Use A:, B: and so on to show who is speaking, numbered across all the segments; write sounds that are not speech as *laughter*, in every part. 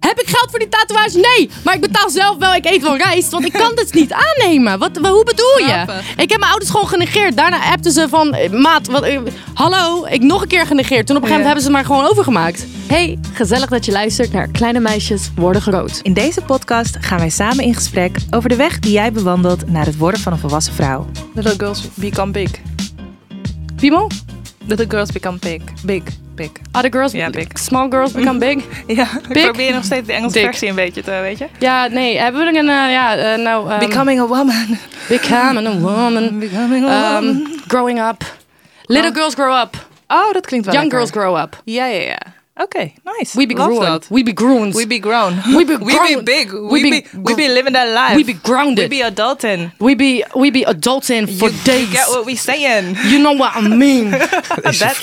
A: Heb ik geld voor die tatoeage? Nee! Maar ik betaal zelf wel. Ik eet wel rijst. Want ik kan *laughs* dit niet aannemen. Wat, wa- hoe bedoel je?
B: Grappig.
A: Ik heb mijn ouders gewoon genegeerd. Daarna appten ze van... eh, Maat, wat, eh, hallo? Ik nog een keer genegeerd. Toen op een gegeven moment hebben ze het maar gewoon overgemaakt.
B: Hey, gezellig dat je luistert naar Kleine Meisjes Worden Groot.
C: In deze podcast gaan wij samen in gesprek over de weg die jij bewandelt naar het worden van een volwassen vrouw.
D: Little girls become big.
A: Pimo?
D: Little girls become big. Big, big.
A: Other girls,
D: Ja, big.
A: small girls become big.
D: Ja, ik
A: Big. Um,
D: probeer nog steeds de Engelse
A: Dik.
D: versie een beetje te, weet je.
A: Ja, nee. Hebben we er een... eh, ja, eh, nou... ehm,
D: Becoming a
A: *laughs*
D: woman.
A: becoming a woman.
D: Becoming
A: Ehm, growing up. Little girls grow up.
D: Oh, dat klinkt wel
A: Young
D: lekker.
A: girls grow up.
D: Ja, ja, ja. Oké, nice.
A: We be
D: Love
A: grown.
D: that.
A: We be grown.
D: We be grown.
A: *laughs* We be
D: We be
A: grown.
D: big.
A: We be
D: We, be, we be
A: gr-
D: living that life.
A: We be grounded.
D: We be adult in.
A: We be we be adulting for
D: you,
A: days.
D: You get what we saying.
A: You know what I
D: *laughs*
A: mean.
D: That's it.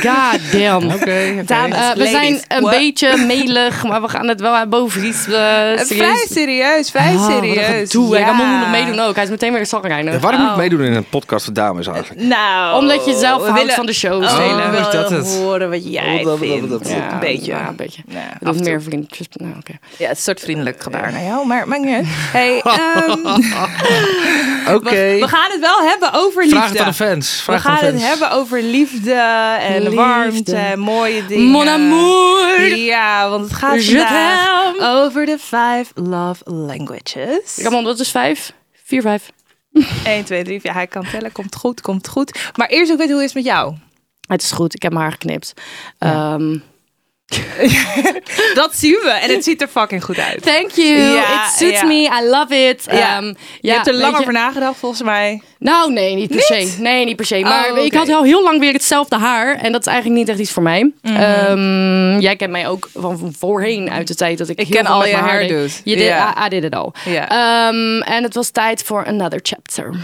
A: God damn.
D: Oké,
A: Dames, eh, we zijn een beetje melig, maar we gaan het wel aan boven iets. eh,
D: *laughs* Vrij
A: serieus.
D: serieus, vrij
A: Ah, wat een
D: serieus.
A: gedoe, hè.
D: ja. Oh,
A: Dan moet je nog meedoen ook. Hij is meteen weer een zanger.
E: Ja, waarom moet ik meedoen in een podcast voor dames eigenlijk?
D: Nou,
A: Omdat je zelf
D: we
A: houdt
D: willen-
A: van de show.
D: Oh,
A: stelen.
D: we
E: is
D: willen
E: dat het?
D: horen wat jij
E: Oh, dat- dat-
D: vindt.
E: dat- dat-
D: Ja, een beetje.
A: Ja, een beetje.
D: Ja,
A: We doen
D: af en
A: meer vriendjes. Nou, oké.
D: Ja, het is een soort vriendelijk gebaar naar jou, maar maakt niet uit.
E: *laughs*
D: Hey, ehm,
E: Oké.
D: we, we gaan het wel hebben over liefde.
E: Vraag het aan de fans. Vraag
D: we gaan
E: het aan
D: het
E: de fans.
D: hebben over liefde en
A: Liefde.
D: warmte en mooie dingen.
A: Mon amour.
D: Ja, want het eh, gaat
A: Je
D: vandaag
A: t'aime.
D: over de vijf love languages.
A: Ramon, dat is vijf. Vier, vijf.
D: 1, 2, 3, ja, hij kan tellen. Komt goed, komt goed. Maar eerst ook weten hoe het is met jou.
A: Het is goed. Ik heb mijn haar geknipt. Ehm,
D: Dat zien we en het ziet er fucking goed uit.
A: thank you.
D: Ja,
A: it suits
D: ja.
A: me. I love it.
D: Ja.
A: Ehm,
D: Je hebt er
A: weet
D: lang
A: je-
D: over nagedacht, volgens mij.
A: Nou, nee, niet per se. Nee, niet per se. Maar
D: Oh, oké.
A: ik had al heel lang weer hetzelfde haar. En dat is eigenlijk niet echt iets voor mij.
D: Mhm.
A: Ehm, jij kent mij ook van, van voorheen uit de tijd dat ik
D: Ik
A: heel
D: ken
A: veel
D: al
A: met
D: je
A: mijn haar deed.
D: hairdos.
A: Je did,
D: Ja.
A: I, I did it all.
D: Ja.
A: Ehm, en het was tijd voor another chapter.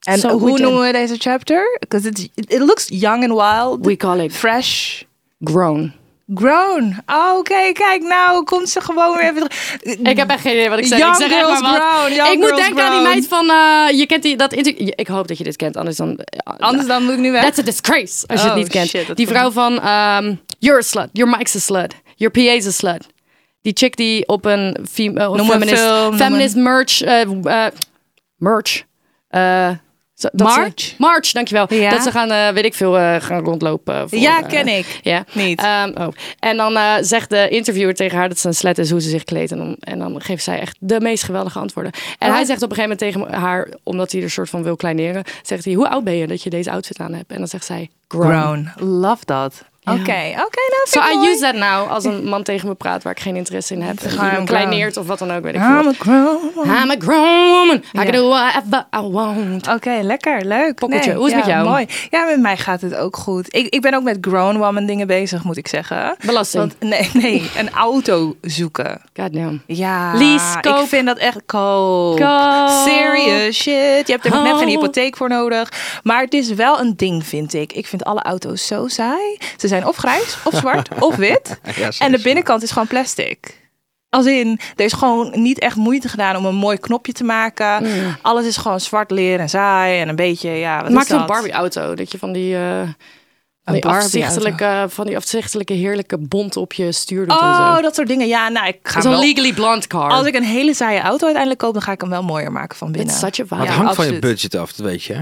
D: En
A: So we
D: hoe
A: did.
D: noemen we deze chapter? Because it, it looks young and wild.
A: We call it
D: Fresh.
A: grown.
D: Grown. Oh, Oké, kijk nou, komt ze gewoon weer even terug.
A: Ik heb echt geen idee wat ik zeg.
D: Young
A: ik zeg echt
D: girls
A: maar wat.
D: grown, young
A: ik moet
D: girls
A: denken aan die
D: grown.
A: meid van... eh, je kent die, dat interview... Ik hoop dat je dit kent, anders dan... eh,
D: Anders dan moet ik nu weg.
A: That's a disgrace, als je het
D: Oh,
A: niet kent.
D: shit, dat
A: die vrouw van, ehm, you're a slut, your mic's a slut, your PA's a slut. Die chick die op een fem- eh,
D: een
A: feminist,
D: film, noem
A: feminist merch, eh, eh, merch, eh, zo- dat ze-
D: March?
A: March, dankjewel.
D: Ja.
A: Dat ze gaan, eh, weet ik veel, eh, gaan rondlopen. Voor,
D: Ja,
A: eh,
D: ken ik.
A: ja.
D: Niet.
A: Ehm, oh. En dan eh, zegt de interviewer tegen haar dat ze een slet is hoe ze zich kleedt. En dan, en dan geeft zij echt de meest geweldige antwoorden. En
D: Oh.
A: hij zegt op een gegeven moment tegen haar, omdat hij er soort van wil kleineren, zegt hij: Hoe oud ben je dat je deze outfit aan hebt? En dan zegt zij: Grown.
D: Grown. Love that. Oké, oké, nou
A: So
D: vind ik
A: I
D: mooi.
A: use that now als een man tegen me praat waar ik geen interesse in heb. En die
D: Gewoon
A: me
D: grown.
A: kleineert of wat dan ook, weet ik
D: I'm
A: veel.
D: a grown woman.
A: I'm a grown woman. I can do whatever I want.
D: Oké, lekker, leuk.
A: Pokkeltje, hoe is het
D: ja,
A: met jou?
D: Mooi. Ja, met mij gaat het ook goed. Ik, ik ben ook met grown woman dingen bezig, moet ik zeggen.
A: Belasting.
D: Want, nee, nee, een auto zoeken.
A: Goddamn.
D: Ja,
A: Lease, koop.
D: ik vind dat echt koop.
A: Koop.
D: Serious shit. Je hebt er nog net geen
A: Oh.
D: hypotheek voor nodig. Maar het is wel een ding, vind ik. Ik vind alle auto's zo saai. Ze zijn of grijs, of
A: *laughs*
D: zwart, of wit.
E: serieus.
D: en de binnenkant is gewoon plastic. Als in, er is gewoon niet echt moeite gedaan om een mooi knopje te maken. Alles is gewoon zwart leer en saai en een beetje, ja, wat
A: Mm. Maak
D: is dat?
A: zo'n Barbie-auto, dat je van die... eh, van die,
D: Barbie-auto.
A: afzichtelijke, van die afzichtelijke heerlijke bont op je stuur doet eh, en zo.
D: Oh, dat soort dingen. Ja, nou, ik ga
A: Zo'n
D: wel...
A: legally blonde car.
D: Als ik een hele saaie auto uiteindelijk koop, dan ga ik hem wel mooier maken van binnen.
A: It's such a
E: Maar
A: vibe.
E: het
D: Ja,
E: hangt van je
D: absoluut.
E: budget af, dat weet je. hè?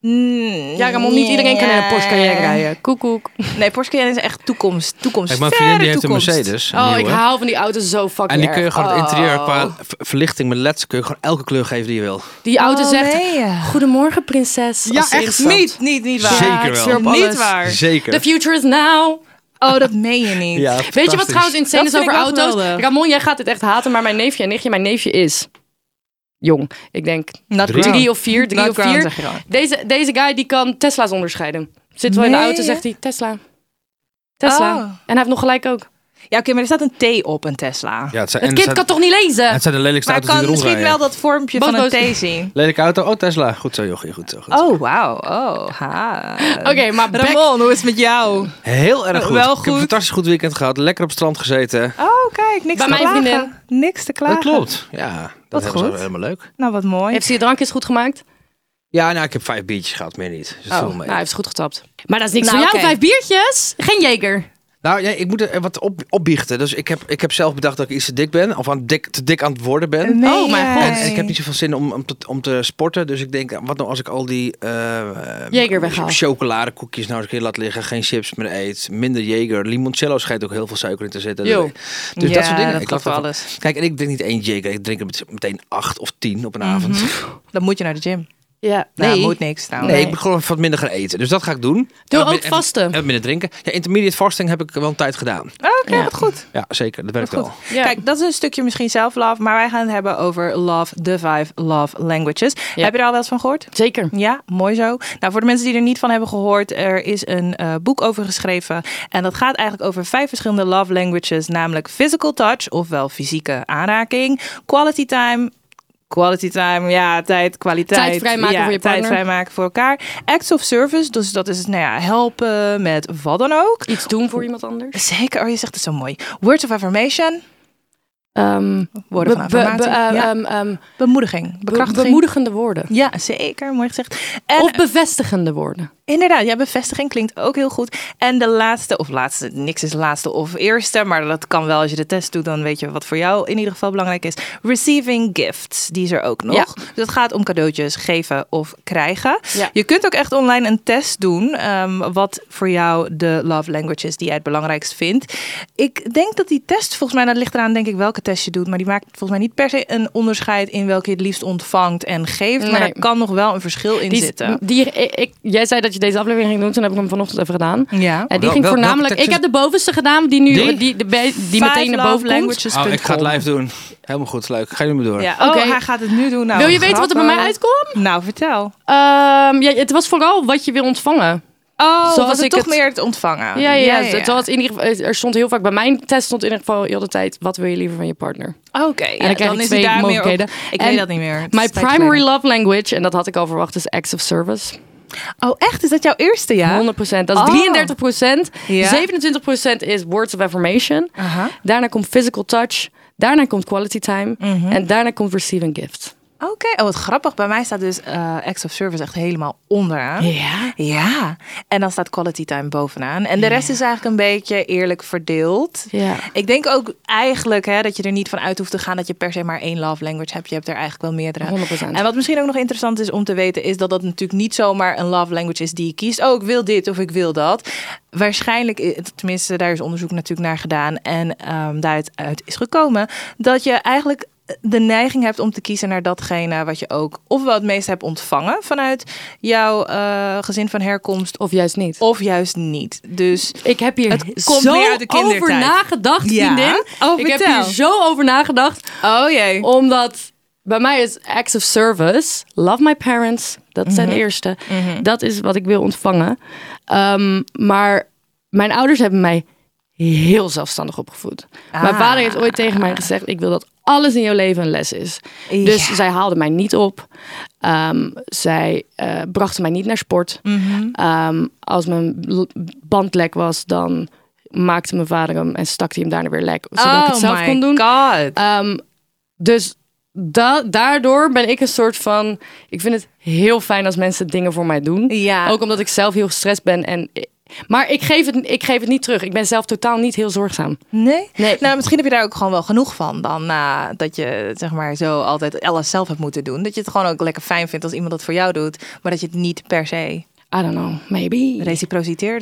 D: Mm,
A: Ja, Ramon, niet iedereen kan in een Porsche Cayenne rijden. Koekoek.
D: Nee, Porsche Cayenne is echt toekomst. Toekomst.
E: Kijk, mijn
D: verre
E: vriendin die heeft een
D: toekomst.
E: Mercedes. een
A: Oh, ik
E: nieuwe.
A: hou van die auto's zo fucking
E: En die
A: erg. Oh.
E: kun je gewoon het interieur qua v- verlichting met leds kun je gewoon elke kleur geven die je wil.
A: Die auto zegt,
D: Oh, nee.
A: goedemorgen prinses. als ze instapt.
D: Niet, niet, niet waar.
E: Zeker
D: ik
E: wel.
D: zweer op
A: Niet
D: alles.
A: waar.
E: Zeker.
A: The future is now.
D: Oh, dat meen je niet.
E: Ja,
A: Weet je wat
E: fantastisch.
A: trouwens insane
D: Dat
A: is
D: vind
A: over
D: ik wel
A: auto's?
D: geweldig.
A: Ramon, jij gaat dit echt haten, maar mijn neefje en nichtje, mijn neefje is jong. Ik denk
D: Not
E: Drie.
D: grown.
A: drie of vier, drie
D: Not
A: of
D: grown,
A: vier.
D: zeg je dan.
A: Deze, deze guy die kan Tesla's onderscheiden. Zit wel in de
D: Nee,
A: auto,
D: hè?
A: zegt hij, Tesla. Tesla.
D: Oh.
A: En hij heeft nog gelijk ook.
D: Ja, oké, maar er staat een T op een Tesla.
E: Ja, het zijn,
A: Het
E: en
A: kind kan
E: het zijn,
A: toch niet lezen?
E: het zijn de lelijkste
D: maar ik kan
E: auto's die erom
D: misschien wel
E: rijden.
D: dat vormpje van een T zien.
E: Lelijke auto, oh Tesla. Goed zo, jochie, goed zo. Goed zo.
D: Oh, wauw. Oh, ha.
A: Oké, maar back-
D: Ramon, hoe is het met jou?
E: Heel erg goed.
D: Wel
E: Ik heb een
D: goed.
E: fantastisch goed weekend gehad. Lekker op het strand gezeten.
D: Oh, kijk, niks
A: Bij
D: te
A: mijn
D: klagen.
A: vriendin.
D: Niks te klagen.
E: Dat klopt. Ja, dat
D: Wat
E: hebben ze
D: goed.
E: helemaal leuk.
D: Nou, wat mooi.
A: heeft ze je drankjes goed gemaakt?
E: Ja, nou, ik heb vijf biertjes gehad, meer niet. Dus
A: Oh,
E: veel
A: nou,
E: mee.
A: hij heeft goed getapt. Maar dat is niks
B: Nou,
A: voor jou.
B: oké.
A: Vijf biertjes?
B: Geen jager.
E: Nou, ja, ik moet er wat op, opbiechten. Dus ik heb, ik heb zelf bedacht dat ik iets te dik ben. Of aan dik, te dik aan het worden ben.
D: Nee.
A: Oh, mijn god.
E: En, en ik heb niet zoveel zin om, om, te, om te sporten. Dus ik denk, wat nou als ik al die eh
A: Jager weghaal.
E: chocoladekoekjes nou eens een keer laat liggen. Geen chips meer eet. Minder Jager. Limoncello schijnt ook heel veel suiker in te zitten.
A: Yo.
E: Dus dat soort dingen.
D: Dat
E: ik
D: klopt
E: laat
D: voor
E: wel-
D: alles.
E: Kijk, en ik drink niet één Jager. Ik drink er met- meteen acht of tien op een
A: Mhm.
E: avond.
D: Dan moet je naar de gym.
A: Ja,
D: Nee.
A: Nou, nee.
D: moet niks trouwens.
E: Nee, ik ben gewoon wat minder gaan eten. Dus dat ga ik doen.
A: Doe
E: En wat
A: ook
E: min- en wat-
A: vasten.
E: En wat minder drinken. Ja, intermediate fasting heb ik wel een tijd gedaan.
D: Oh, Oké, wat goed.
E: Ja, zeker. Dat werkt wel.
A: Ja.
D: Kijk, dat is een stukje misschien self-love, maar wij gaan het hebben over love, the five love languages.
A: Ja.
D: Heb je er al wel eens van gehoord?
A: Zeker.
D: Ja, mooi zo. Nou, voor de mensen die er niet van hebben gehoord, er is een eh, boek over geschreven. En dat gaat eigenlijk over vijf verschillende love languages, namelijk physical touch, ofwel fysieke aanraking, quality time. Quality time, ja, tijd, kwaliteit.
A: Tijd vrijmaken
D: ja,
A: voor je
D: tijd
A: partner.
D: vrijmaken voor elkaar. Acts of service, dus dat is nou ja, helpen met wat dan ook.
A: Iets doen voor iemand anders.
D: Zeker, oh, je zegt het zo mooi. Words of affirmation,
A: Ehm,
D: woorden van
A: be- be-
D: affirmatie.
A: be-
D: ja.
A: ehm, ehm, be-
D: Bemoediging, bekrachtiging.
A: bemoedigende woorden.
D: Ja, zeker, mooi gezegd. En
A: Of bevestigende woorden.
D: Inderdaad, ja, bevestiging klinkt ook heel goed. En de laatste, of laatste, niks is laatste of eerste, maar dat kan wel als je de test doet, dan weet je wat voor jou in ieder geval belangrijk is. Receiving gifts, die is er ook nog.
A: Ja.
D: Dus het gaat om cadeautjes geven of krijgen.
A: Ja.
D: Je kunt ook echt online een test doen, ehm, wat voor jou de love languages die jij het belangrijkst vindt. Ik denk dat die test, volgens mij, dat ligt eraan denk ik welke test je doet, maar die maakt volgens mij niet per se een onderscheid in welke je het liefst ontvangt en geeft, maar
A: Nee.
D: daar kan nog wel een verschil in
A: Die,
D: zitten.
A: die, ik, ik- jij zei dat je deze aflevering ging doen, toen heb ik hem vanochtend even gedaan.
D: Ja.
A: En die
E: Wel-
A: ging
E: wel- welke
A: voornamelijk.
E: tekst
A: Ik
E: is-
A: heb de bovenste gedaan, die nu
E: Die?
A: die, die, de- die meteen naar boven komt.
D: languages.
E: Oh, ik ga het live doen. Helemaal goed, leuk. Ga je maar door.
D: Ja,
A: Oké.
D: oh, hij gaat het nu doen. Nou,
A: Wil je weten wat er bij mij
D: grappig.
A: uitkwam?
D: Nou, vertel.
A: Ehm, ja, het was vooral wat je wil ontvangen.
D: Oh,
A: Zoals
D: was het
A: ik
D: toch
A: het-
D: meer het ontvangen?
A: ja, ja, het was in ieder geval, er stond heel vaak bij mijn test stond in ieder geval heel de tijd wat wil je liever van je partner.
D: Oké, ja,
A: dan krijg
D: dan
A: ik
D: is
A: twee
D: hij daar meer op.
A: mogelijkheden.
D: Ik weet
A: En
D: dat niet meer. Het is
A: My
D: een tijd
A: primary
D: geleden.
A: love language, en dat had ik al verwacht, is acts of service.
D: Oh, echt? Is dat jouw eerste jaar?
A: 100%. Dat is
D: Oh.
A: 33 procent.
D: Ja.
A: 27 is words of affirmation.
D: Aha.
A: Daarna komt physical touch. Daarna komt quality time.
D: Mhm.
A: En daarna komt receiving gift.
D: Oké, oh wat grappig. Bij mij staat dus eh acts of service echt helemaal onderaan.
A: Ja.
D: Ja, en dan staat quality time bovenaan. En de rest is eigenlijk een beetje eerlijk verdeeld.
A: Ja.
D: Ik denk ook eigenlijk hè, dat je er niet van uit hoeft te gaan dat je per se maar één love language hebt. Je hebt er eigenlijk wel meerdere.
A: 100%.
D: En wat misschien ook nog interessant is om te weten, is dat dat natuurlijk niet zomaar een love language is die je kiest. Oh, ik wil dit of ik wil dat. Waarschijnlijk, i- tenminste, daar is onderzoek natuurlijk naar gedaan. En ehm, daaruit uit is gekomen dat je eigenlijk eh, de neiging hebt om te kiezen naar datgene wat je ook ofwel het meest hebt ontvangen vanuit jouw eh, gezin van herkomst,
A: Of juist niet.
D: of juist niet. Dus
A: Ik heb hier
D: Het komt
A: zo
D: meer uit de kindertijd.
A: over nagedacht,
D: Ja?
A: vriendin.
D: Oh,
A: ik heb
D: vertel.
A: hier zo over nagedacht.
D: oh jee.
A: Omdat bij mij is acts of service, love my parents, dat zijn de eerste. Dat is wat ik wil ontvangen. Ehm, maar mijn ouders hebben mij heel zelfvaardig opgevoed. Mijn vader heeft ooit tegen mij gezegd: ik wil dat alles in jouw leven een les is. Dus zij haalde mij niet op. Ehm, zij eh, brachten mij niet naar sport. Ehm, als mijn l- band lek was, dan maakte mijn vader hem en stak hij hem daarna weer lek, zodat ik het zelf
D: Oh my
A: kon doen.
D: God.
A: Ehm, dus da- daardoor ben ik een soort van. Ik vind het heel fijn als mensen dingen voor mij doen.
D: Ja.
A: Ook omdat ik zelf heel gestrest ben. En, maar ik geef, het, ik geef het niet terug. Ik ben zelf totaal niet heel zorgzaam.
D: Nee?
A: Nee.
D: Nou, misschien heb je daar ook gewoon wel genoeg van dan. Na dat je zeg maar zo altijd alles zelf hebt moeten doen. Dat je het gewoon ook lekker fijn vindt als iemand dat voor jou doet. Maar dat je het niet per se
A: I don't know, maybe.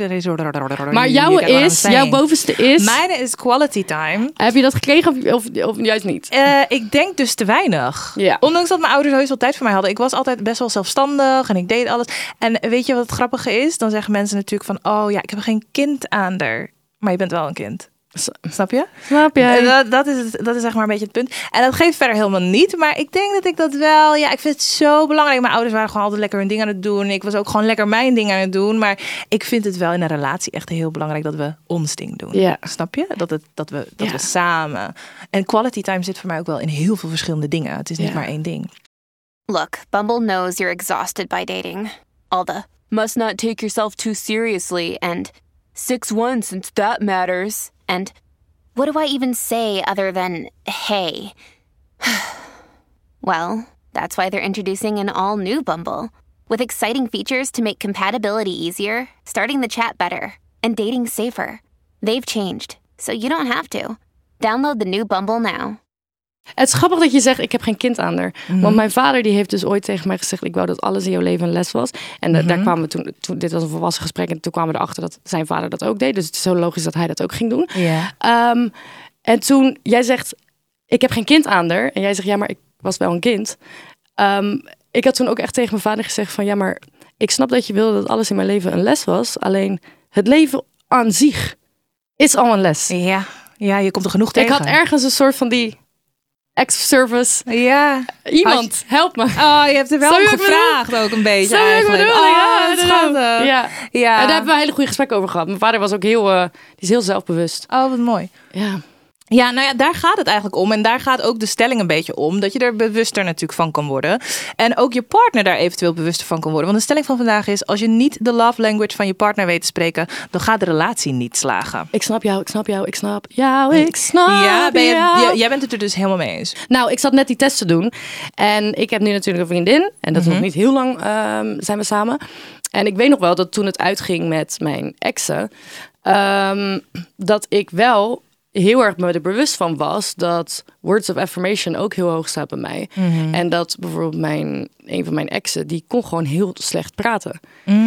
D: reciprociteert.
A: Maar jouw is, jouw bovenste is.
D: Mijn is quality time.
A: Heb je dat gekregen of, of, of juist niet?
D: Eh, ik denk dus te weinig.
A: Ja.
D: Ondanks dat mijn ouders heus wel tijd voor mij hadden. Ik was altijd best wel zelfstandig en ik deed alles. En weet je wat het grappige is? Dan zeggen mensen natuurlijk van... Oh ja, ik heb geen kind aan daar. Maar je bent wel een kind. Snap je?
A: Snap jij?
D: En Dat, dat, is, het- dat is zeg maar een beetje het punt. En dat geeft verder helemaal niet. Maar ik denk dat ik dat wel. Ja, ik vind het zo belangrijk. Mijn ouders waren gewoon altijd lekker hun ding aan het doen. Ik was ook gewoon lekker mijn ding aan het doen. Maar ik vind het wel in een relatie echt heel belangrijk dat we ons ding doen.
A: Ja.
D: Snap je? Dat, het, dat, we, dat
A: Ja.
D: we samen. En quality time zit voor mij ook wel in heel veel verschillende dingen. Het is niet
A: Ja.
D: maar één ding.
F: Look, Bumble knows you're exhausted by dating. All the must not take yourself too seriously and 6 1 since that matters. And what do I even say other than hey? *sighs* well, that's why they're introducing an all new Bumble with exciting features to make compatibility easier, starting the chat better, and dating safer. They've changed, so you don't have to. Download the new Bumble now.
A: Het is grappig dat je zegt, ik heb geen kind aan haar.
D: Mhm.
A: Want mijn vader die heeft dus ooit tegen mij gezegd, ik wou dat alles in jouw leven een les was. En eh,
D: Mhm.
A: daar kwamen we toen, toen, dit was een volwassen gesprek en toen kwamen we erachter dat zijn vader dat ook deed. Dus het is zo logisch dat hij dat ook ging doen.
D: Ja.
A: Ehm, en toen, jij zegt, ik heb geen kind aan haar. En jij zegt, ja, maar ik was wel een kind. Ehm, ik had toen ook echt tegen mijn vader gezegd van, ja, maar ik snap dat je wilde dat alles in mijn leven een les was. Alleen het leven aan zich is al een les.
D: Ja. Ja, je komt er genoeg
A: Ik
D: tegen.
A: had ergens een soort van die ex-service.
D: Ja.
A: Iemand, help me.
D: Oh, je hebt er wel
A: Snap je
D: om
A: wat ik bedoel?
D: gevraagd ook een beetje
A: Snap je wat ik
D: eigenlijk.
A: bedoel?
D: Oh,
A: Ja,
D: wat
A: inderdaad.
D: schattig.
A: Ja.
D: Ja.
A: En daar hebben we hele goede gesprekken over gehad. Mijn vader was ook heel, eh, die is heel zelfbewust.
D: Oh, wat mooi.
A: Ja.
D: Ja, nou ja, daar gaat het eigenlijk om. En daar gaat ook de stelling een beetje om. Dat je er bewuster natuurlijk van kan worden. En ook je partner daar eventueel bewuster van kan worden. Want de stelling van vandaag is: als je niet de love language van je partner weet te spreken, dan gaat de relatie niet slagen.
A: Ik snap jou, ik snap jou, ik snap jou, ik snap
D: ja, ben je,
A: jou.
D: j- jij bent het er dus helemaal mee eens.
A: Nou, ik zat net die test te doen. En ik heb nu natuurlijk een vriendin. En dat is
D: Mhm.
A: nog niet heel lang ehm, zijn we samen. En ik weet nog wel dat toen het uitging met mijn exen... ehm, dat ik wel heel erg me er bewust van was... dat words of affirmation ook heel hoog staat bij mij.
D: Mhm.
A: En dat bijvoorbeeld mijn, een van mijn exen... die kon gewoon heel slecht praten.
D: Mhm.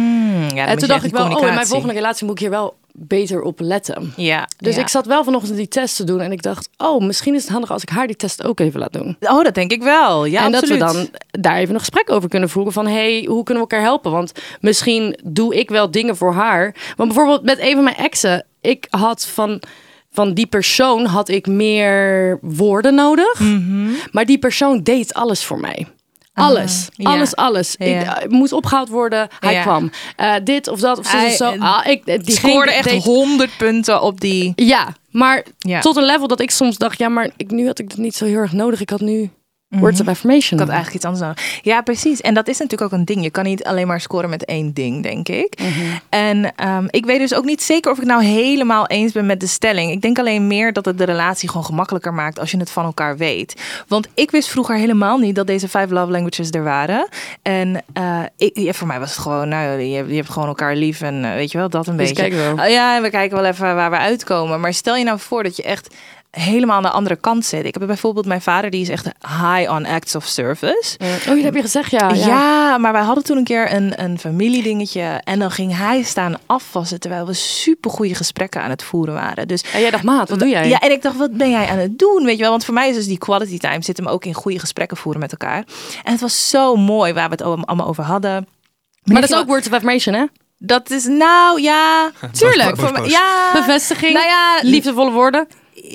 D: Ja,
A: en toen dacht ik wel, oh, in mijn volgende relatie moet ik hier wel beter op letten.
D: Ja,
A: Dus
D: ja.
A: ik zat wel vanochtend die test te doen en ik dacht, oh, misschien is het handig als ik haar die test ook even laat doen.
D: Oh, dat denk ik wel. Ja,
A: en
D: absoluut.
A: dat we dan daar even een gesprek over kunnen voeren. Van hey, hoe kunnen we elkaar helpen? Want misschien doe ik wel dingen voor haar. Want bijvoorbeeld met een van mijn exen, ik had van, van die persoon had ik meer woorden nodig.
D: Mhm.
A: Maar die persoon deed alles voor mij. Alles,
D: Ah, ja.
A: alles, alles. Ik
D: Ja.
A: eh, moest opgehaald worden. Hij
D: Ja.
A: kwam. Eh, dit of dat of zo.
D: Hij,
A: of zo.
D: eh,
A: Ah, ik, eh,
D: Die
A: diegene
D: scoorde echt
A: deed-
D: 100 punten op die.
A: ja, maar
D: Ja.
A: tot een level dat ik soms dacht, ja, maar ik, nu had ik dat niet zo heel erg nodig. Ik had nu words of affirmation.
D: Mhm. Ik had eigenlijk iets anders nodig. Ja, precies. En dat is natuurlijk ook een ding. Je kan niet alleen maar scoren met één ding, denk ik. En ehm, ik weet dus ook niet zeker of ik nou helemaal eens ben met de stelling. Ik denk alleen meer dat het de relatie gewoon gemakkelijker maakt als je het van elkaar weet. Want ik wist vroeger helemaal niet dat deze vijf love languages er waren. En eh, ik, ja, voor mij was het gewoon, nou, je, je hebt gewoon elkaar lief en eh, weet je wel, dat een
A: Dus
D: beetje.
A: kijk wel.
D: Oh Ja, en we kijken wel even waar we uitkomen. Maar stel je nou voor dat je echt helemaal aan de andere kant zit. Ik heb bijvoorbeeld mijn vader, die is echt high on acts of service.
A: Oh, dat heb je gezegd, ja.
D: ja.
A: ja.
D: maar wij hadden toen een keer een, een familiedingetje. En dan ging hij staan afwassen terwijl we super goede gesprekken aan het voeren waren. Dus
A: En jij dacht, maat, wat doe jij?
D: ja, en ik dacht, wat ben jij aan het doen? Weet je wel, want voor mij is dus die quality time zit hem ook in goede gesprekken voeren met elkaar. En het was zo mooi waar we het allemaal over hadden.
A: maar dat is ook words of affirmation, hè?
D: Dat is nou ja,
A: *laughs*
D: tuurlijk.
E: boos,
D: voor mij-
E: boos.
D: ja,
A: Bevestiging,
D: Nou ja,
A: liefdevolle woorden.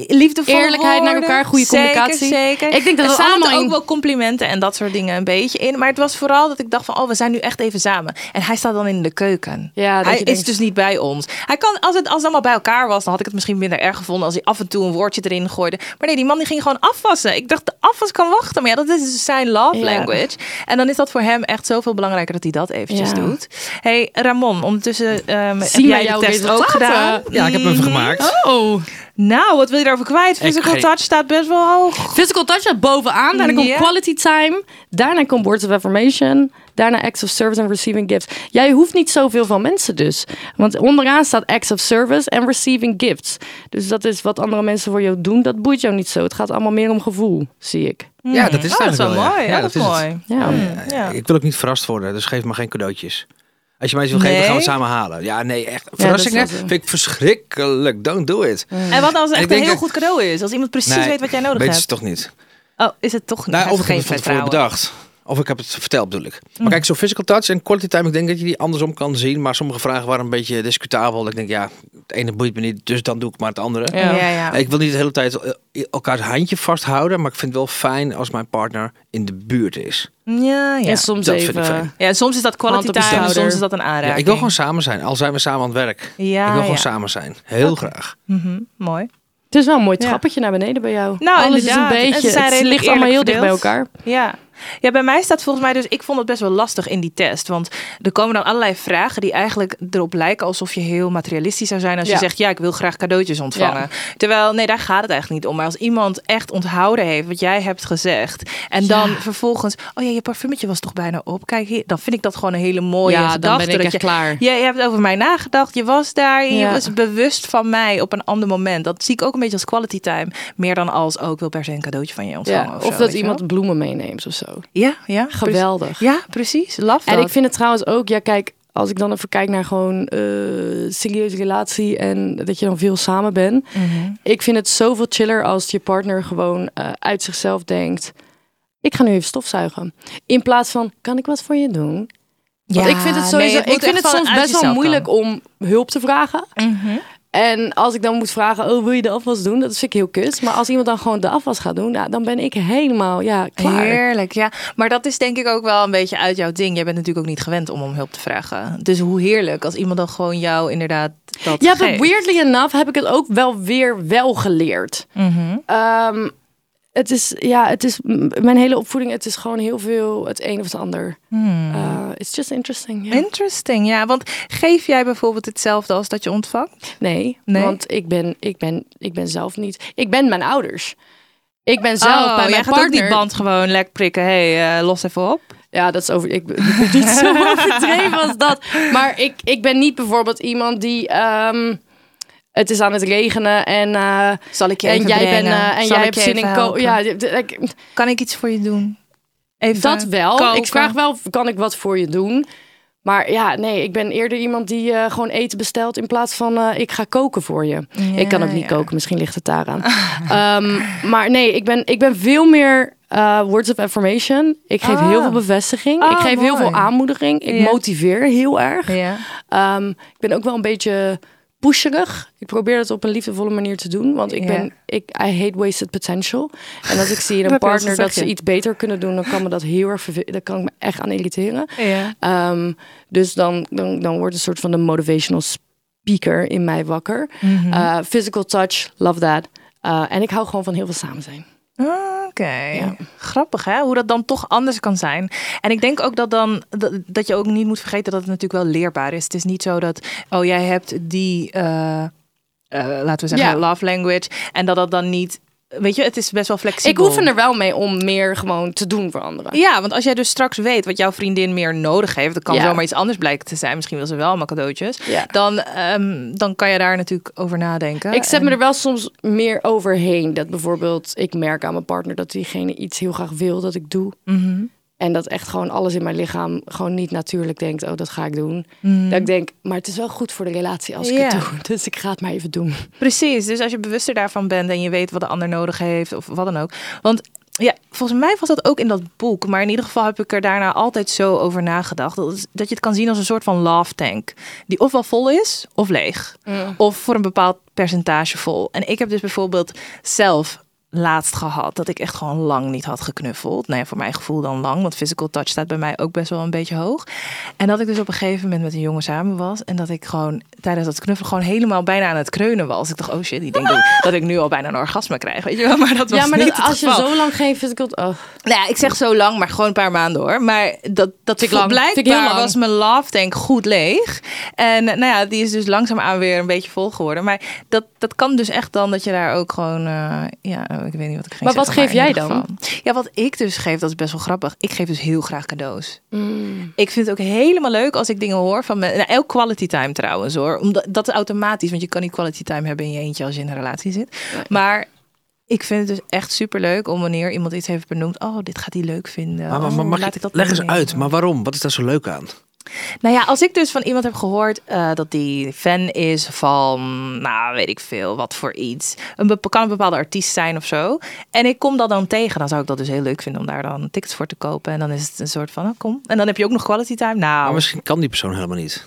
D: liefdevolle
A: Eerlijkheid naar elkaar, goede
D: Zeker,
A: communicatie.
D: Zeker.
A: Ik denk dat
D: er
A: we
D: zaten
A: allemaal
D: ook
A: in-
D: wel complimenten en dat soort dingen een beetje in. Maar het was vooral dat ik dacht van, oh, we zijn nu echt even samen. En hij staat dan in de keuken.
A: Ja, dat
D: hij
A: je
D: is
A: denkt-
D: dus niet bij ons. Hij kan, als het, als het allemaal bij elkaar was, dan had ik het misschien minder erg gevonden als hij af en toe een woordje erin gooide. Maar nee, die man die ging gewoon afwassen. Ik dacht, de afwas kan wachten. Maar ja, dat is dus zijn love
A: Ja.
D: language. En dan is dat voor hem echt zoveel belangrijker dat hij dat eventjes
A: Ja.
D: doet. hey, Ramon, ondertussen ehm heb
A: Zien wij
D: jij de
A: jouw
D: test ook
A: resultaten?
D: gedaan. Mhm.
E: Ja, ik heb hem gemaakt.
A: Oh.
D: Nou, wat wil je daarover kwijt? Physical
E: geen-
D: touch staat best wel hoog.
A: Physical touch staat bovenaan, daarna komt
D: Ja.
A: quality time, daarna komt words of affirmation, daarna acts of service en receiving gifts. Jij hoeft niet zoveel van mensen dus, want onderaan staat acts of service en receiving gifts. Dus dat is wat andere mensen voor jou doen, dat boeit jou niet zo. Het gaat allemaal meer om gevoel, zie ik.
E: Ja, dat is
D: Oh,
E: het
D: dat is wel
E: eigenlijk wel, ja.
D: mooi.
E: Ja,
D: Ja,
E: dat
D: dat is
E: is het. Eh,
D: mooi.
A: Ja.
E: Mm.
D: Ja.
E: Ik wil ook niet verrast worden, dus geef me geen cadeautjes. Als je mij iets wil geven,
D: Nee.
E: gaan we het samen halen. Ja, nee, echt. Verrassingen
A: wel zo.
E: vind ik verschrikkelijk. Don't do it.
D: En wat nou als het
E: Ik
D: echt een
E: denk
D: heel
E: dat-
D: goed cadeau is? Als iemand precies
E: Nee,
D: weet wat jij nodig
E: weet
D: hebt.
E: ze toch niet.
D: Oh, is het toch niet?
E: Nou,
D: Hij
E: of
D: heeft
E: ik heb het van
D: geen
E: tevoren
D: vertrouwen. Mm.
E: bedacht. Of ik heb het verteld, bedoel ik. Maar kijk, zo'n physical touch en quality time, ik denk dat je die andersom kan zien. Maar sommige vragen waren een beetje discutabel. Dat Ik denk, ja, het ene boeit me niet, dus dan doe ik maar het andere.
D: Ja, ja. ja.
E: Ik wil niet de hele tijd eh, elkaars handje vasthouden, maar ik vind het wel fijn als mijn partner in de buurt is.
D: ja, ja.
A: En soms
E: Dat vind ik fijn.
A: even.
D: Ja, soms is dat quality
A: Hand op je
D: time,
A: schouder.
D: soms is dat een
E: Ja,
D: aanraking.
E: ik wil gewoon samen zijn, al zijn we samen aan het werk.
D: Ja,
E: ik wil gewoon
D: ja.
E: samen zijn, heel graag.
D: Mhm, mooi.
A: Het is wel een mooi
D: Ja.
A: trappetje naar beneden bij jou.
D: Nou,
A: Alles
D: inderdaad.
A: is een
D: En
A: beetje.
D: ze zijn
A: Het,
D: redelijk
A: ligt allemaal heel
D: eerlijk
A: dicht bij
D: verdeeld.
A: elkaar.
D: Ja. ja, bij mij staat volgens mij dus, ik vond het best wel lastig in die test. Want er komen dan allerlei vragen die eigenlijk erop lijken alsof je heel materialistisch zou zijn als je
A: Ja.
D: zegt, ja, ik wil graag cadeautjes ontvangen. Terwijl, nee, daar gaat het eigenlijk niet om. Maar als iemand echt onthouden heeft wat jij hebt gezegd en dan vervolgens, oh ja, je parfumetje was toch bijna op. Kijk hier, dan vind ik dat gewoon een hele mooie
A: ja,
D: gedachte.
A: dan ben ik
D: dat
A: echt
D: je,
A: klaar.
D: Jij hebt over mij nagedacht, je was daar, en je
A: Ja.
D: was bewust van mij op een ander moment. Dat zie ik ook een beetje als quality time. Meer dan als, oh, ik wil per se een cadeautje van je ontvangen.
A: Ja,
D: of,
A: Of,
D: zo, weet
A: dat
D: je
A: iemand
D: wel.
A: bloemen meeneemt of zo.
D: Ja, ja. precies.
A: Geweldig.
D: Ja, precies. Love
A: En
D: dat.
A: ik vind het trouwens ook, ja, kijk, als ik dan even kijk naar gewoon eh, serieuze relatie en dat je dan veel samen bent.
D: Mhm.
A: Ik vind het zoveel chiller als je partner gewoon eh, uit zichzelf denkt. Ik ga nu even stofzuigen. In plaats van, kan ik wat voor je doen? Want
D: Ja,
A: ik vind het
D: nee,
A: sowieso,
D: het moet
A: ik vind
D: echt
A: het soms
D: vanuit
A: best wel
D: jezelf Mhm.
A: moeilijk om hulp te vragen. En als ik dan moet vragen, oh, wil je de afwas doen? Dat vind ik heel kut. Maar als iemand dan gewoon de afwas gaat doen, nou, dan ben ik helemaal, ja, klaar.
D: Heerlijk, ja. Maar dat is denk ik ook wel een beetje uit jouw ding. Jij bent natuurlijk ook niet gewend om om hulp te vragen. Dus hoe heerlijk als iemand dan gewoon jou inderdaad dat
A: Ja,
D: geeft.
A: but weirdly enough heb ik het ook wel weer wel geleerd.
D: Mhm.
A: Ehm, het is, ja, het is m- mijn hele opvoeding. Het is gewoon heel veel het een of het ander.
D: Hmm.
A: Eh, it's just interesting. ja.
D: Interesting, ja. Want geef jij bijvoorbeeld hetzelfde als dat je ontvangt?
A: Nee,
D: Nee?
A: want ik ben, ik, ben, ik ben zelf niet. Ik ben mijn ouders. Ik ben zelf bij
D: Oh, jij
A: mijn
D: gaat ook
A: partner.
D: die band gewoon lek prikken. hey, eh, los even op.
A: Ja, dat is over. Ik ben ik ben niet zo *laughs* overdreven als dat. Maar ik, ik ben niet bijvoorbeeld iemand die. ehm, het is aan het regenen en, eh,
D: Zal ik je
A: en
D: even
A: jij,
D: brengen?
A: bent, eh, en
D: Zal
A: jij
D: ik
A: hebt
D: je
A: zin
D: even
A: in ko-
D: helpen?
A: Ja, d- d- ik,
D: Kan ik iets voor je doen? Even
A: Dat wel.
D: koken?
A: Ik vraag wel, kan ik wat voor je doen? Maar ja, nee, ik ben eerder iemand die eh, gewoon eten bestelt in plaats van eh, ik ga koken voor je. ik kan ook niet koken, misschien ligt het
D: *laughs*
A: daaraan. Ehm, maar nee, ik ben, ik ben veel meer eh, words of affirmation. Ik geef heel veel bevestiging.
D: Oh,
A: ik geef heel
D: Ah. mooi.
A: veel aanmoediging. Ik
D: Ja.
A: motiveer heel erg.
D: Ja.
A: Ehm, ik ben ook wel een beetje pusherig. Ik probeer dat op een liefdevolle manier te doen. Want ik
D: Ja.
A: ben, ik, I hate wasted potential. En als ik
D: *laughs*
A: zie in een
D: Dat wil ze
A: partner dat ze
D: zeggen.
A: iets beter kunnen doen, dan kan me dat heel erg vervelen. Daar kan ik me echt aan irriteren.
D: Ja.
A: Ehm, dus dan, dan, dan wordt een soort van de motivational speaker in mij wakker.
D: Mhm.
A: Eh, physical touch, love that. Eh, en ik hou gewoon van heel veel samen zijn.
D: Ah, Oké, grappig hè, hoe dat dan toch anders kan zijn. En ik denk ook dat dan dat, dat je ook niet moet vergeten dat het natuurlijk wel leerbaar is. Het is niet zo dat oh jij hebt die, eh, eh, laten we zeggen,
A: Ja.
D: love language en dat dat dan niet, weet je, het is best wel
A: Ik
D: flexibel.
A: oefen er wel mee om meer gewoon te doen voor anderen.
D: Ja, want als jij dus straks weet wat jouw vriendin meer nodig heeft, dat kan
A: Ja.
D: zomaar iets anders blijken te zijn. Misschien wil ze wel allemaal cadeautjes.
A: Ja.
D: Dan, ehm, dan kan je daar natuurlijk over nadenken.
A: Ik zet
D: En-
A: me er wel soms meer overheen. Dat bijvoorbeeld, ik merk aan mijn partner dat diegene iets heel graag wil dat ik doe. En dat echt gewoon alles in mijn lichaam gewoon niet natuurlijk denkt, oh dat ga ik doen. Dat ik denk, maar het is wel goed voor de relatie als ik
D: Ja.
A: het doe. *laughs* Dus ik ga het maar even doen.
D: Precies, dus als je bewuster daarvan bent en je weet wat de ander nodig heeft of wat dan ook. Want ja, volgens mij was dat ook in dat boek, maar in ieder geval heb ik er daarna altijd zo over nagedacht. Dat, is- dat je het kan zien als een soort van love tank, die ofwel vol is of leeg, of voor een bepaald percentage vol. En ik heb dus bijvoorbeeld zelf laatst gehad dat ik echt gewoon lang niet had geknuffeld. Nou ja, voor mijn gevoel dan lang, want physical touch staat bij mij ook best wel een beetje hoog. En dat ik dus op een gegeven moment met een jongen samen was en dat ik gewoon tijdens dat knuffelen gewoon helemaal bijna aan het kreunen was. Ik dacht, oh shit, die denkt dat ik- dat ik nu al bijna een orgasme krijg, weet je wel? Maar dat was
A: ja, maar
D: niet
A: dat-
D: het
A: als je
D: geval.
A: zo lang geen physical... Oh.
D: Nou ja, ik zeg zo lang, maar gewoon een paar maanden hoor. Maar dat, dat
A: ik lang.
D: blijkbaar
A: Vind ik heel lang.
D: was mijn love tank goed leeg. En eh, nou ja, die is dus langzaamaan weer een beetje vol geworden. Maar dat, dat kan dus echt dan dat je daar ook gewoon... eh, ja, oh, ik weet niet wat ik ging
A: Maar wat
D: zeggen,
A: geef
D: in
A: jij
D: ieder
A: dan?
D: geval. Ja, wat ik dus geef, dat is best wel grappig. Ik geef dus heel graag cadeaus. Ik vind het ook helemaal leuk als ik dingen hoor van mensen. Nou, elk quality time trouwens hoor. Omdat, dat is automatisch, want je kan niet quality time hebben in je eentje als je in een relatie zit. Maar ik vind het dus echt super leuk om wanneer iemand iets heeft benoemd. Oh, dit gaat hij leuk vinden.
E: Maar, maar- maar
D: Oh,
E: mag
D: laat
E: je-
D: ik dat
E: leg eens
D: meenemen.
E: uit, maar waarom? Wat is daar zo leuk aan?
D: Nou ja, als ik dus van iemand heb gehoord eh, dat die fan is van, nou weet ik veel, wat voor iets. Een bepa- kan een bepaalde artiest zijn of zo. En ik kom dat dan tegen, dan zou ik dat dus heel leuk vinden om daar dan tickets voor te kopen. En dan is het een soort van, oh, kom. En dan heb je ook nog quality time. Nou,
E: Maar misschien kan die persoon helemaal niet.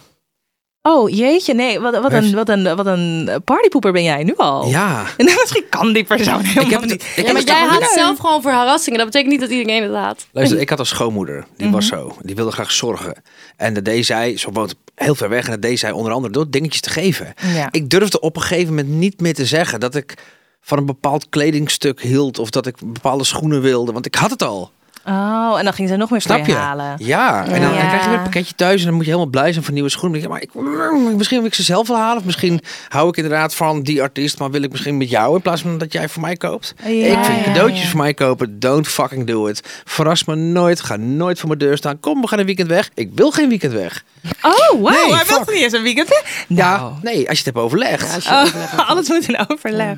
D: oh jeetje, nee, wat, wat, een,
E: Heeft-
D: wat, een, wat een partypoeper ben jij nu al. *laughs*
E: Ja.
D: En misschien kan die persoon helemaal
E: Ik heb het,
D: niet.
E: ik
A: Ja,
E: heb
A: maar
E: het
A: jij
E: toch-
A: haat zelf gewoon voor harassingen. Dat betekent niet dat iedereen het haat.
E: Luister, ik had een schoonmoeder, die was zo. Die wilde graag zorgen. En dat deed zij, ze woont heel ver weg, en dat deed zij onder andere door dingetjes te geven.
D: Ja.
E: Ik durfde op een gegeven moment niet meer te zeggen dat ik van een bepaald kledingstuk hield of dat ik bepaalde schoenen wilde, want ik had het al.
D: Oh, en dan ging ze nog meer
E: Snap
D: voor
E: je?
D: je halen.
E: Ja, en dan,
D: Ja.
E: dan krijg je weer een pakketje thuis en dan moet je helemaal blij zijn voor nieuwe schoenen. Maar ik, mm, misschien wil ik ze zelf wel halen of misschien hou ik inderdaad van die artiest, maar wil ik misschien met jou in plaats van dat jij voor mij koopt. ik vind
D: ja,
E: cadeautjes
D: ja.
E: voor mij kopen, don't fucking do it. Verras me nooit, ga nooit voor mijn deur staan. Kom, we gaan een weekend weg. Ik wil geen weekend weg.
D: Oh, wauw,
E: Nee,
D: hij
E: fuck.
D: was niet eens een weekend. hè? Nou,
E: Ja, nee, als je het hebt overlegd.
D: oh, *laughs* alles moet in overleg.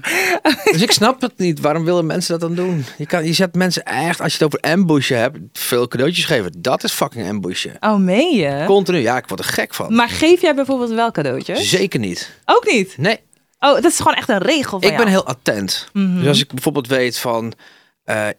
E: Dus ik snap het niet. Waarom willen mensen dat dan doen? Je, kan, je zet mensen echt, als je het over ambushen hebt, veel cadeautjes geven. Dat is fucking ambushen.
D: Oh, meen je?
E: Continu, ja, ik word er gek van.
D: Maar geef jij bijvoorbeeld wel cadeautjes?
E: Zeker niet.
D: Ook niet.
E: Nee,
D: Oh, dat is gewoon echt een regel van
E: ik
D: jou.
E: ben heel attent. Dus als ik bijvoorbeeld weet van, eh, eh,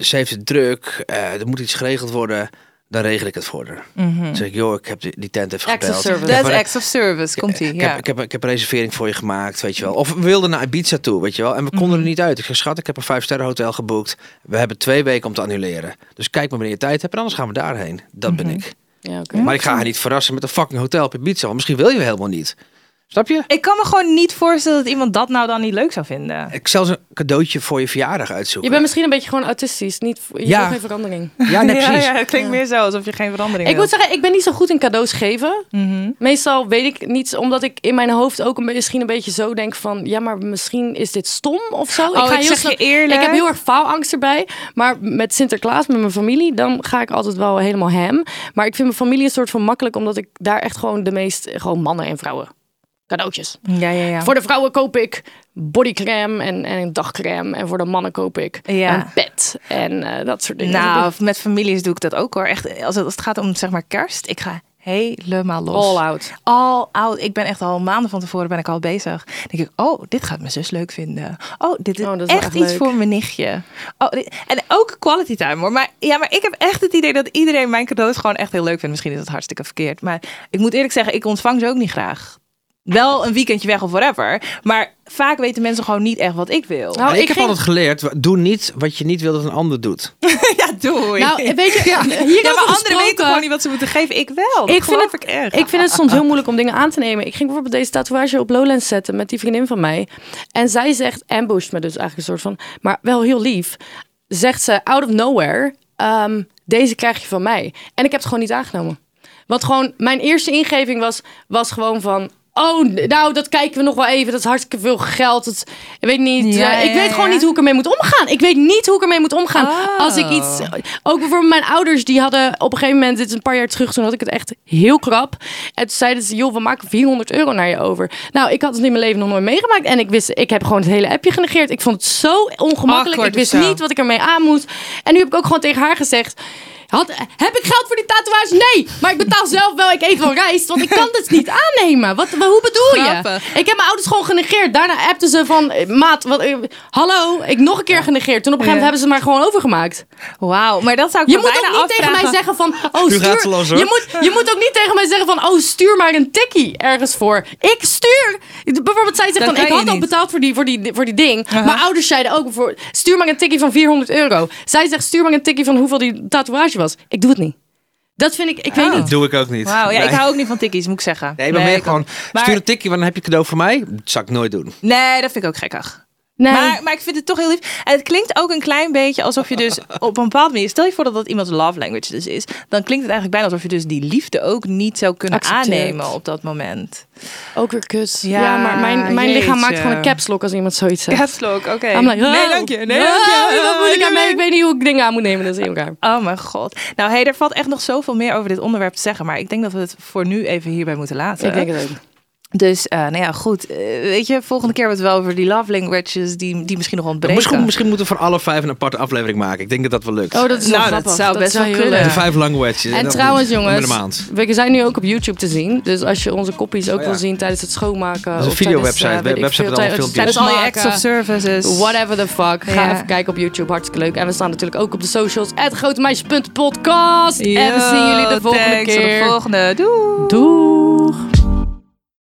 E: ze heeft het druk, eh, er moet iets geregeld worden, dan regel ik het voor haar. Dan zeg ik, joh, ik heb die, die tent even
A: Acts of
E: gebeld.
A: service.
E: Ik heb
D: Dat is
E: een-
D: acts of service, komt ie.
E: Ik,
D: Ja.
E: heb, ik, heb, ik heb een reservering voor je gemaakt, weet je wel. Of we wilden naar Ibiza toe, weet je wel. En we konden er niet uit. Ik zeg, schat, ik heb een vijf sterren hotel geboekt. We hebben twee weken om te annuleren. Dus kijk maar wanneer je tijd hebt en anders gaan we daarheen. Dat ben ik.
A: Ja, oké.
E: Maar ik ga haar niet verrassen met een fucking hotel op Ibiza. Want misschien wil je helemaal niet. Snap je?
D: Ik kan me gewoon niet voorstellen dat iemand dat nou dan niet leuk zou vinden.
E: Ik zelfs een cadeautje voor je verjaardag uitzoeken.
A: Je bent misschien een beetje gewoon autistisch. Niet, je
E: Ja.
A: wil geen verandering.
E: *laughs* Ja, nee, precies.
D: Ja, ja, het klinkt meer zo alsof je geen verandering
A: Ik
D: wilt.
A: moet zeggen, ik ben niet zo goed in cadeaus geven.
D: Mhm.
A: Meestal weet ik niet, omdat ik in mijn hoofd ook een, be- misschien een beetje zo denk van... ja, maar misschien is dit stom of zo.
D: Oh, ik zeg je
A: snel-
D: eerlijk.
A: Ik heb heel erg faalangst erbij. Maar met Sinterklaas, met mijn familie, dan ga ik altijd wel helemaal hem. Maar ik vind mijn familie een soort van makkelijk... omdat ik daar echt gewoon de meest... gewoon mannen en vrouwen cadeautjes.
D: Ja, ja, ja.
A: Voor de vrouwen koop ik bodycreme en, en dagcreme. En voor de mannen koop ik
D: Ja.
A: een bed en eh, dat soort dingen.
D: Nou, met families doe ik dat ook hoor. Echt, als het, als het gaat om zeg maar kerst, ik ga helemaal los.
A: all out.
D: All out. Ik ben echt al maanden van tevoren ben ik al bezig. Dan denk ik, oh, dit gaat mijn zus leuk vinden. Oh, dit is,
A: Oh, dat is wel
D: echt,
A: echt
D: iets
A: leuk.
D: voor mijn nichtje. Oh, dit- en ook quality time hoor. Maar, ja, maar ik heb echt het idee dat iedereen mijn cadeaus gewoon echt heel leuk vindt. Misschien is dat hartstikke verkeerd. Maar ik moet eerlijk zeggen, ik ontvang ze ook niet graag. Wel een weekendje weg of whatever. Maar vaak weten mensen gewoon niet echt wat Oh, ik wil.
A: Nou,
E: ik,
A: ik
E: heb
A: ging-
E: altijd geleerd, doe niet wat je niet wil dat een ander doet.
D: *laughs* ja, doei.
A: Nou, weet je, hier
D: *laughs* ja, maar
A: over
D: anderen weten
A: gesproken.
D: gewoon niet wat ze moeten geven. Ik wel. Oh, Dat
A: Ik vind,
D: geloof
A: het,
D: ik echt.
A: ik vind het soms heel moeilijk om dingen aan te nemen. Ik ging bijvoorbeeld deze tatoeage op Lowlands zetten met die vriendin van mij. En zij zegt, ambushed me dus eigenlijk een soort van, maar wel heel lief. Zegt ze, out of nowhere, ehm, deze krijg je van mij. En ik heb het gewoon niet aangenomen. Want gewoon, mijn eerste ingeving was, was gewoon van... Oh, nou, dat kijken we nog wel even. Dat is hartstikke veel geld. Dat, is- ik weet niet.
D: Ja,
A: eh, ik
D: ja,
A: weet
D: ja,
A: gewoon
D: ja.
A: niet hoe ik ermee moet omgaan. Ik weet niet hoe ik ermee moet omgaan.
D: Ah.
A: Als ik iets. Ook bijvoorbeeld mijn ouders, die hadden op een gegeven moment, dit is een paar jaar terug, toen had ik het echt heel krap. En toen zeiden ze: joh, we maken 400 euro naar je over. Nou, ik had het in mijn leven nog nooit meegemaakt. En ik wist, ik heb gewoon het hele appje genegeerd. Ik vond het zo ongemakkelijk.
D: Awkward
A: ik wist
D: of zo.
A: niet wat ik ermee aan moest. En nu heb ik ook gewoon tegen haar gezegd. Had, heb ik geld voor die tatoeage? Nee, maar ik betaal zelf wel. Ik eet wel rijst, want ik kan dit niet aannemen. Wat, wa- hoe bedoel je?
D: Grappig.
A: Ik heb mijn ouders gewoon genegeerd. Daarna appten ze van, eh, maat, wat, eh, hallo, ik nog een keer genegeerd. Toen op een gegeven moment hebben ze het maar gewoon overgemaakt.
D: Wauw, maar dat zou ik
A: Je
D: me
A: moet ook niet
D: bijna
A: tegen
D: afvragen.
A: mij zeggen van, oh
E: Nu
A: stuur,
E: gaat ze los, hoor.
A: je, moet, je moet ook niet tegen mij zeggen van, oh stuur maar een tikkie ergens voor. Ik stuur, bijvoorbeeld zij zegt
D: Dat
A: van,
D: kan
A: ik
D: je
A: had al
D: niet.
A: betaald voor die, voor die, voor die ding. Mijn ouders zeiden ook, voor, stuur maar een tikkie van 400 euro. Zij zegt, stuur maar een tikkie van hoeveel die tatoeage was. Ik doe het niet. Dat vind ik, ik
D: Oh.
A: weet niet.
E: doe ik ook niet.
D: Wauw, ja,
E: nee.
D: ik hou ook niet van tikkies, moet ik zeggen.
E: Nee, maar meer
D: ik ook
E: gewoon,
D: niet. Maar-
E: stuur een tikje, want dan heb je cadeau voor mij. Dat zou ik nooit doen.
D: Nee, dat vind ik ook gekkig.
A: Nee.
D: Maar, maar ik vind het toch heel lief. En het klinkt ook een klein beetje alsof je
E: *laughs*
D: dus op een bepaalde manier... Stel je voor dat dat iemands love language dus is. Dan klinkt het eigenlijk bijna alsof je dus die liefde ook niet zou kunnen
A: Accepteert.
D: aannemen op dat moment.
A: Ook weer kut.
D: Ja,
A: Ja, maar mijn, mijn lichaam maakt
D: jeetje.
A: gewoon een caps lock als iemand zoiets zegt.
D: Capslock, oké.
A: I'm like,
D: nee,
A: oh,
D: dank je. Nee,
A: oh,
D: dank je.
A: Wat moet ik aan
D: Nee,
A: mij? Ik weet niet hoe ik dingen aan moet nemen. Dat is heel raar.
D: Oh mijn god. Nou, hey, er valt echt nog zoveel meer over dit onderwerp te zeggen. Maar ik denk dat we het voor nu even hierbij moeten laten.
A: Ik denk het ook.
D: Dus eh, nou ja, goed. Eh, weet je, volgende keer hebben we het wel over die love languages die, die misschien nog ontbreken.
E: Misschien, misschien moeten we voor alle vijf een aparte aflevering maken. Ik denk dat dat wel lukt.
A: Oh, dat is wel
D: nou,
A: grappig.
D: dat zou best wel
A: heel
D: kunnen.
E: De
A: leuk.
E: vijf languages.
A: En
E: dat-
A: trouwens,
E: Met
A: jongens,
E: een maand.
A: we zijn nu ook op YouTube te zien. Dus als je onze kopjes ook
E: Oh ja.
A: wil zien tijdens het schoonmaken.
E: Dat is een
A: of tijdens,
E: videowebsite.
A: eh,
E: We-
A: weet ik
E: website
A: veel,
E: met allemaal
A: tijdens-
E: filmpjes.
D: Dus al je acts
A: maken,
D: of services.
A: Whatever the fuck. Ga
D: Ja.
A: even kijken op YouTube. Hartstikke leuk. En we staan natuurlijk ook op de socials. grotemeisjes.podcast. En we zien jullie de volgende
D: thanks, Tot
A: keer.
D: de volgende. Doei.
A: Doei.